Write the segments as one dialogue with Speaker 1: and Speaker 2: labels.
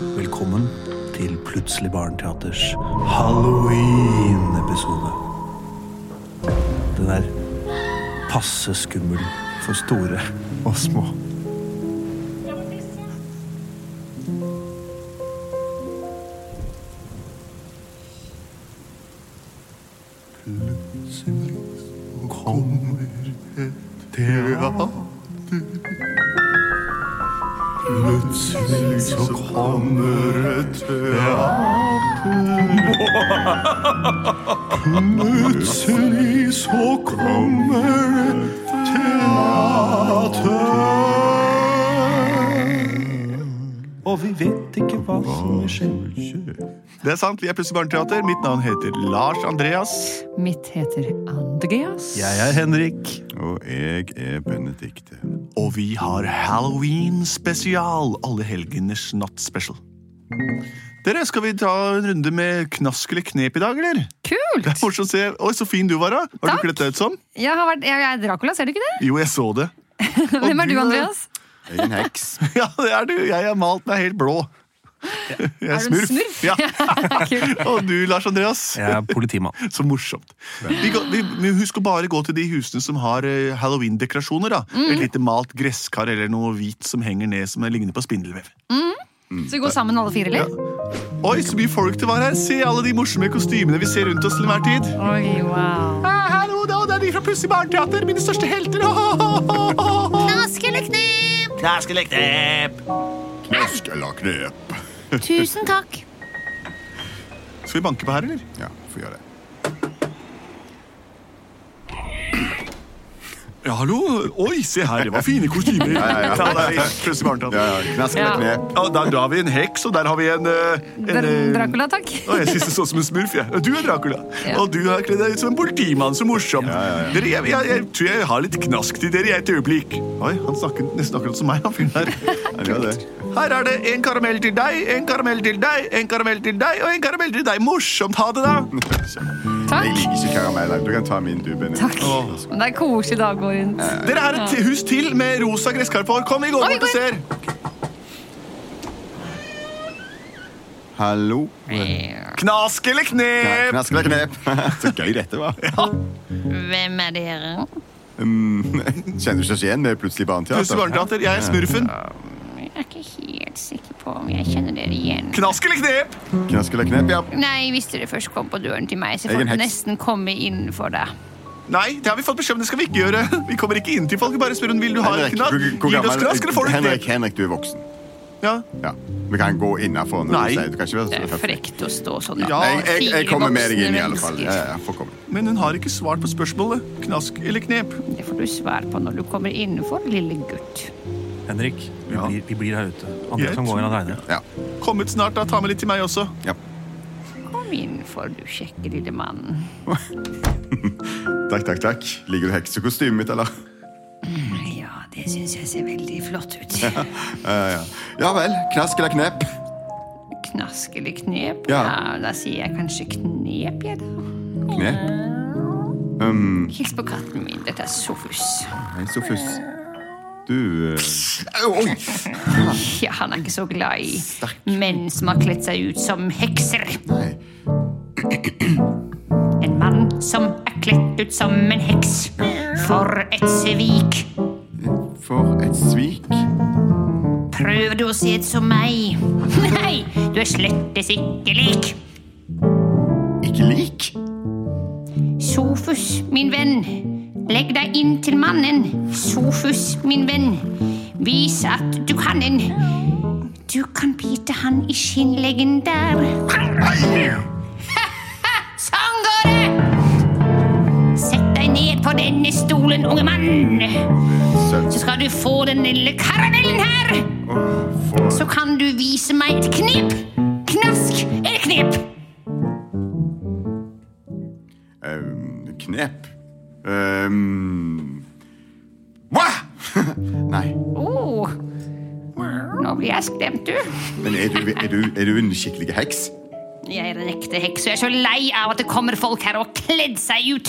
Speaker 1: Velkommen til Plutselig barneteaters halloween-episode. Den er passe skummel for store og små. Plutselig kommer et teater. Plutselig så kommer et teater. Plutselig så kommer et teater. Og vi vet ikke hva som vil skje.
Speaker 2: Det er sant, vi er Plutselig barneteater. Mitt navn heter Lars Andreas.
Speaker 3: Mitt heter Andreas.
Speaker 1: Jeg er Henrik.
Speaker 4: Og jeg er Benedikte.
Speaker 2: Og vi har Halloween-spesial. Alle helgeners natt-special. Dere, skal vi ta en runde med knask eller knep i dag, eller? Det er
Speaker 3: Kult!
Speaker 2: morsomt å se. Oi, så fin du var, da. Har
Speaker 3: Takk.
Speaker 2: du kledd deg ut som?
Speaker 3: Jeg, har vært, jeg er Dracula, ser du ikke det?
Speaker 2: Jo, jeg så det.
Speaker 3: Hvem er du,
Speaker 2: du er-
Speaker 3: Andreas?
Speaker 4: Jeg er en heks.
Speaker 2: Ja, det er du. Jeg er malt meg helt blå. Jeg
Speaker 3: Er du en smurf?
Speaker 2: Ja.
Speaker 3: Kult.
Speaker 2: Og du, Lars Andreas.
Speaker 1: Jeg er politimann.
Speaker 2: Så morsomt. Vi, går- vi, vi husk å bare gå til de husene som har eh, halloween-dekorasjoner. da.
Speaker 3: Mm.
Speaker 2: Et lite malt gresskar eller noe hvit som henger ned som ligner på spindelvev.
Speaker 3: Så vi går sammen alle fire, eller?
Speaker 2: Oi, så mye folk det var her. Se alle de morsomme kostymene vi ser rundt oss til enhver tid.
Speaker 3: Oi, wow.
Speaker 2: Ah, hallo, da, det er de fra Plutselig barneteater, mine største helter.
Speaker 5: Knask eller knep?
Speaker 4: Knask eller knep.
Speaker 5: Tusen takk.
Speaker 2: Skal vi banke på her, eller?
Speaker 4: Ja, får gjøre det.
Speaker 2: Ja, hallo. Oi, se her, det var fine kostymer.
Speaker 4: ja, ja.
Speaker 2: Ta deg i Plutselig barneteater.
Speaker 4: Ja, ja, knask eller
Speaker 3: Ja.
Speaker 4: knep.
Speaker 2: Ja, der, da har vi en heks, og der har vi en, eh, en
Speaker 3: Dra-
Speaker 2: eh,
Speaker 3: Dracula, takk.
Speaker 2: Å, jeg synes det så ut som en smurf. jeg. Og Du er Dracula.
Speaker 3: Ja.
Speaker 2: Og du har kledd deg ut som en politimann. Så morsomt. Dere, jeg, jeg, jeg tror jeg har litt knask til dere i et øyeblikk. Oi, Han snakker nesten akkurat som meg, han fyren
Speaker 4: Ja,
Speaker 2: her.
Speaker 4: det er det.
Speaker 2: Her er det en karamell til deg, en karamell til deg, en karamell til deg og en karamell til deg. Morsomt. Ha det, da.
Speaker 4: Jeg
Speaker 3: Takk.
Speaker 4: liker ikke karameller. Du kan ta min, du, Benny.
Speaker 3: Takk. Men det er koselig dag å gå rundt.
Speaker 2: Dere er et hus til med rosa gresskar på. Kom, vi går
Speaker 3: Oi,
Speaker 2: bort og
Speaker 3: går
Speaker 2: ser.
Speaker 4: Hallo.
Speaker 2: Knask eller
Speaker 4: Ja,
Speaker 2: knep?
Speaker 4: Knask eller knep. Så gøy dette var.
Speaker 5: Hvem er dere?
Speaker 4: Mm, Kjenner du ikke oss igjen med Plutselig
Speaker 2: Plutselig
Speaker 4: barneteater?
Speaker 2: barneteater. Jeg er smurfen.
Speaker 5: Jeg er ikke helt sikker på om jeg kjenner dere igjen.
Speaker 2: Knask eller knep?
Speaker 4: Knask eller knep, ja.
Speaker 5: Nei, hvis dere først kom på døren til meg, så
Speaker 4: Jeg er
Speaker 5: får
Speaker 4: en
Speaker 5: dere
Speaker 4: heks.
Speaker 5: nesten komme innenfor da.
Speaker 2: Nei, det har vi fått beskjed om. Det skal vi ikke gjøre. Vi kommer ikke inn til folk. Vi bare spør om vil du ha en
Speaker 4: Henrik,
Speaker 2: knask.
Speaker 4: hvor- hvor
Speaker 2: Gir du oss
Speaker 4: gammel-
Speaker 2: knask, eller får du
Speaker 4: Henrik,
Speaker 2: knep?
Speaker 4: Henrik, du er voksen.
Speaker 2: Ja.
Speaker 4: Ja. Vi kan gå innafor.
Speaker 2: Nei.
Speaker 4: Du kan ikke være
Speaker 5: Det
Speaker 4: så
Speaker 5: er frekt å stå sånn.
Speaker 2: Ja,
Speaker 4: Nei, jeg, jeg
Speaker 5: Fire
Speaker 4: kommer med deg
Speaker 5: voksne
Speaker 4: inn, i alle fall.
Speaker 5: mennesker.
Speaker 4: Ja, ja, ja, får komme.
Speaker 2: Men hun har ikke svart på spørsmålet. Knask eller knep?
Speaker 5: Det får du svar på når du kommer innenfor, lille gutt.
Speaker 1: Henrik, vi,
Speaker 2: Ja.
Speaker 1: blir, vi blir her ute.
Speaker 2: Jeg
Speaker 1: Andreas kan gå
Speaker 2: tror-
Speaker 1: inn aleine.
Speaker 4: Ja.
Speaker 2: Kommet snart, da. Ta med litt til meg også.
Speaker 4: ja.
Speaker 5: Kom innenfor, du kjekke lille mann.
Speaker 4: Takk, takk, takk. Liker du heksekostymet mitt, eller?
Speaker 5: Ja, det syns jeg ser veldig flott ut.
Speaker 4: Ja, ja. ja vel. Knask eller knep?
Speaker 5: Knask eller knep? Ja,
Speaker 4: Ja.
Speaker 5: da sier jeg kanskje knep, jeg, da.
Speaker 4: Knep.
Speaker 5: Hils på katten min. Dette er Sofus.
Speaker 4: Hei, Sofus. Du eh, Au, Oi!
Speaker 5: Ja, han er ikke så glad i menn som har kledd seg ut som hekser.
Speaker 4: Nei.
Speaker 5: En mann som er kledd ut som en heks. For et svik.
Speaker 4: For et svik.
Speaker 5: Prøver du å se ut som meg? Nei, du er slettes ikke lik.
Speaker 4: Ikke lik?
Speaker 5: Sofus, min venn. Legg deg inn til mannen. Sofus, min venn. Vis at du kan en. Du kan bite han i skinnleggen der. Sånn går det! Sett deg ned på denne stolen, unge mann.
Speaker 4: Søt.
Speaker 5: Så skal du få den lille karamellen her.
Speaker 4: For
Speaker 5: Så kan du vise meg et knep. Knask eller knep.
Speaker 4: eh, knep. Um, hva? Nei.
Speaker 5: Oh. Nå blir jeg skremt, du.
Speaker 4: Men er du, er, du, er du en skikkelig heks?
Speaker 5: Jeg er en ekte heks, og jeg er så lei av at det kommer folk her og kledd seg ut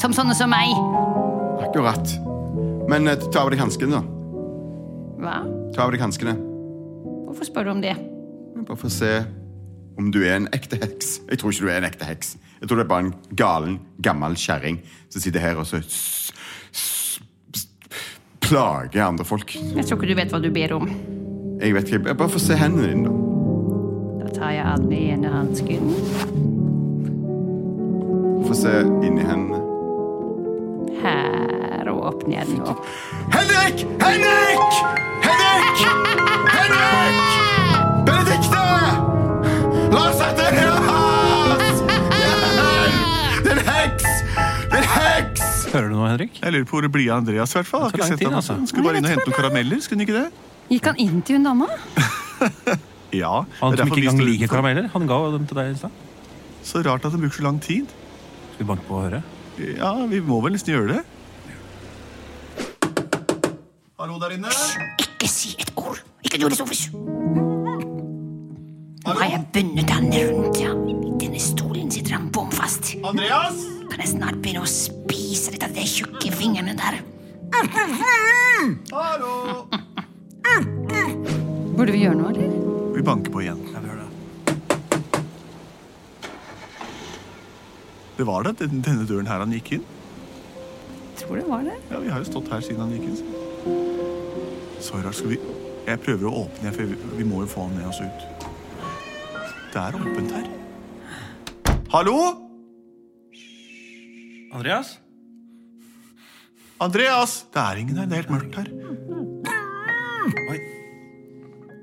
Speaker 5: som sånne som meg.
Speaker 4: Akkurat. Men eh, ta av deg hanskene, da.
Speaker 5: Hva?
Speaker 4: Ta av deg hanskene.
Speaker 5: Hvorfor spør du om det?
Speaker 4: Bare for å se om du er en ekte heks. Jeg tror ikke du er en ekte heks. Jeg tror det er bare en galen, gammel kjerring som sitter her og så s- s- s- plager andre folk.
Speaker 5: Jeg tror ikke du vet hva du ber om.
Speaker 4: Jeg vet ikke. Bare få se hendene dine, da.
Speaker 5: Da tar jeg av den ene hansken.
Speaker 4: Få se inni hendene.
Speaker 5: Her, og åpner jeg den opp.
Speaker 4: Henrik! Henrik! Henrik! Henrik! Benedikte! La oss sette en heks! Det er en heks! Det er en heks!
Speaker 1: Hører du noe, Henrik?
Speaker 6: Jeg lurer på hvor det blir av Andreas. i hvert fall. Jeg
Speaker 1: Det
Speaker 6: har
Speaker 1: tar lang
Speaker 6: ikke sett
Speaker 1: tid,
Speaker 6: han.
Speaker 1: altså.
Speaker 6: Han skulle bare inn og hente noen karameller. skulle han ikke det?
Speaker 2: Gikk han inn til hun dama?
Speaker 6: Ja,
Speaker 1: Han
Speaker 6: det
Speaker 1: som
Speaker 6: er derfor
Speaker 1: ikke
Speaker 6: vi
Speaker 1: engang
Speaker 6: står
Speaker 1: liker
Speaker 6: utenfor.
Speaker 1: karameller, han ga dem til deg i stad.
Speaker 6: Så rart at det bruker så lang tid.
Speaker 1: Skal vi banke på og høre?
Speaker 6: Ja, vi må vel nesten gjøre det. Hallo der inne.
Speaker 5: Ikke si et ord. Ikke gjør det, Sofus. Nå har jeg bundet han rundt ham. I denne stolen sitter han bomfast.
Speaker 6: Andreas!
Speaker 5: Kan jeg snart begynne å spise litt av de tjukke fingrene der?
Speaker 6: Hallo!
Speaker 2: Burde vi gjøre noe, eller?
Speaker 6: Vi banker på igjen. Det var da den- denne døren her han gikk inn.
Speaker 2: Tror det var det.
Speaker 6: Ja, Vi har jo stått her siden han gikk inn. så. Så rart. Skal vi Jeg prøver å åpne, her, for vi, vi må jo få han med oss ut. Det er åpent her. Hallo?
Speaker 1: Andreas?
Speaker 6: Andreas! Det er ingen her. Det er helt mørkt her. Oi.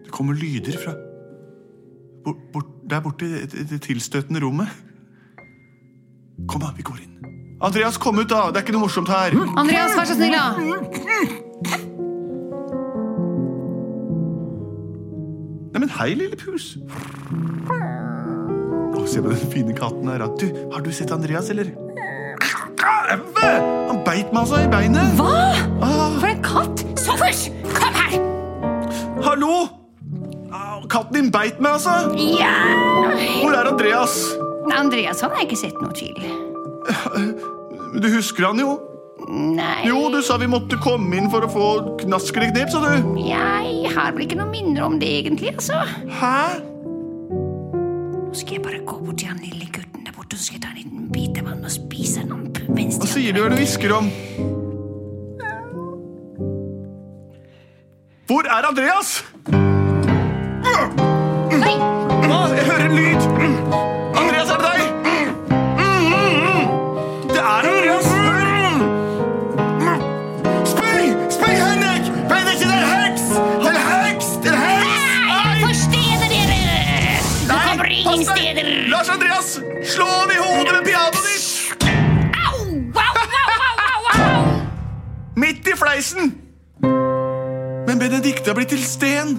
Speaker 6: Det kommer lyder fra bort, bort, Der borte i det, det- det tilstøtende rommet. Kom, da. Vi går inn. Andreas, kom ut, da! Det er ikke noe morsomt her.
Speaker 2: Andreas, vær så snill, da.
Speaker 6: Nei, men hei, lille pus. Å, se på den fine katten her. da. Du, har du sett Andreas, eller? Æve! Han beit meg altså i beinet. Ah.
Speaker 2: Hva? For en katt!
Speaker 5: Sofus, kom her!
Speaker 6: Hallo! Au, Katten din beit meg, altså!
Speaker 5: Ja!
Speaker 6: Hvor er Andreas?
Speaker 5: Andreas han har jeg ikke sett noe til.
Speaker 6: Du husker han jo.
Speaker 5: Nei,
Speaker 6: Jo, du sa vi måtte komme inn for å få knask eller knep, sa du.
Speaker 5: jeg har vel ikke noe minner om det egentlig, altså.
Speaker 6: Hæ?
Speaker 5: Nå skal jeg bare gå bort til han lille gutten der borte, så skal jeg ta en liten bit av han og spise han opp mens
Speaker 6: Hva
Speaker 5: de
Speaker 6: sier du hva du hvisker om? Hvor er Andreas?
Speaker 5: Nei!
Speaker 6: Hva? Jeg hører en lyd. Andreas, er det deg? Det er Andreas.
Speaker 4: Spring! Spring, Henrik! Benedikte, det er en heks! Det er en heks! Det er en heks!
Speaker 5: Jeg forsteder dere! Nå kommer det ingen steder!
Speaker 6: Lars Andreas, slå ham i hodet med pianoet ditt!
Speaker 5: Au! Au, au, au, au, au!
Speaker 6: Midt i fleisen! Men Benedicte har blitt til sten.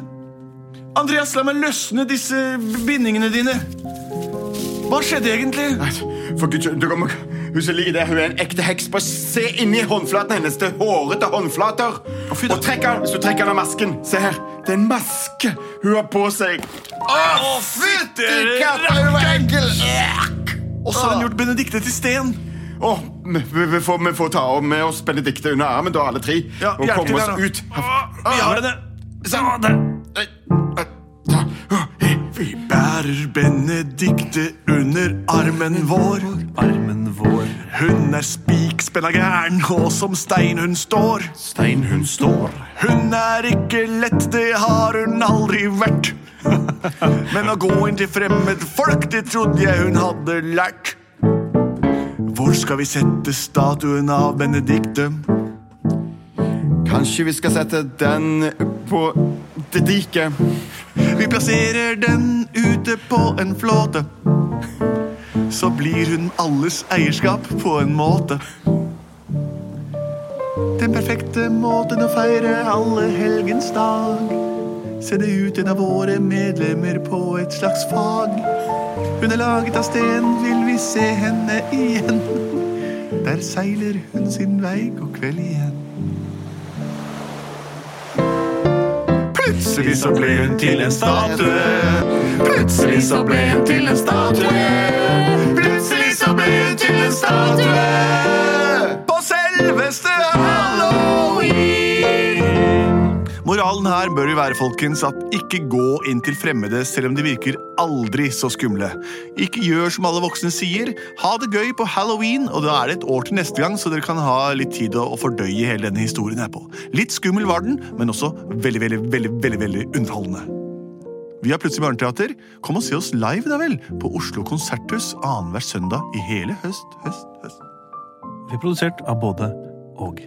Speaker 6: Andreas, la meg løsne disse bindingene dine. Hva skjedde egentlig?
Speaker 4: For Gud, du kommer... Hun som ligger der, hun er en ekte heks. Bare se inni håndflaten hennes. Det er hårete håndflater.
Speaker 6: fy da.
Speaker 4: Og trekk han, hvis du trekker han av masken. Se her, det er en maske hun har på seg. Å, fytti katta, hun var enkel.
Speaker 6: Også har hun gjort Benedicte til sten.
Speaker 4: Å, vi, vi, vi, får, vi får ta av med oss Benedikte under armen, da, alle tre.
Speaker 6: Ja,
Speaker 4: og
Speaker 6: hjelp til
Speaker 4: komme oss
Speaker 6: der, da.
Speaker 4: ut.
Speaker 6: Vi har henne.
Speaker 4: Sånn, der. Nei, nei, ta. Å, eh,
Speaker 6: Vi bærer Benedicte under armen vår.
Speaker 1: Armen vår.
Speaker 6: Hun er spikspenna gæren, og som stein hun står.
Speaker 4: Stein, hun står.
Speaker 6: Hun er ikke lett, det har hun aldri vært. Men å gå inn til fremmed folk, det trodde jeg hun hadde lært. Hvor skal vi sette statuen av Benedicte?
Speaker 4: Kanskje vi skal sette den på det diket.
Speaker 6: Vi plasserer den ute på en flåte. Så blir hun alles eierskap på en måte. Den perfekte måten å feire alle helgens dag. Sende ut en av våre medlemmer på et slags fag. Hun er laget av sten, vil vi se henne igjen. Der seiler hun sin vei, god kveld igjen. Plutselig så ble hun til en statue. Plutselig så ble hun til en statue. Plutselig så ble hun til en statue. På selveste halloween. Moralen
Speaker 2: her
Speaker 6: her
Speaker 2: bør vi være, folkens, at ikke gå inn til fremmede selv om de virker aldri så skumle. Ikke gjør som alle voksne sier. Ha det gøy på halloween, og da er det et år til neste gang, så dere kan ha litt tid å å fordøye hele denne historien her på. Litt skummel var den, men også veldig, veldig, veldig, veldig, veldig underholdende. Vi har Plutselig barneteater. Kom og se oss live, da vel, på Oslo Konserthus annenhver søndag i hele høst, høst, høst.
Speaker 6: Vi er produsert av både og.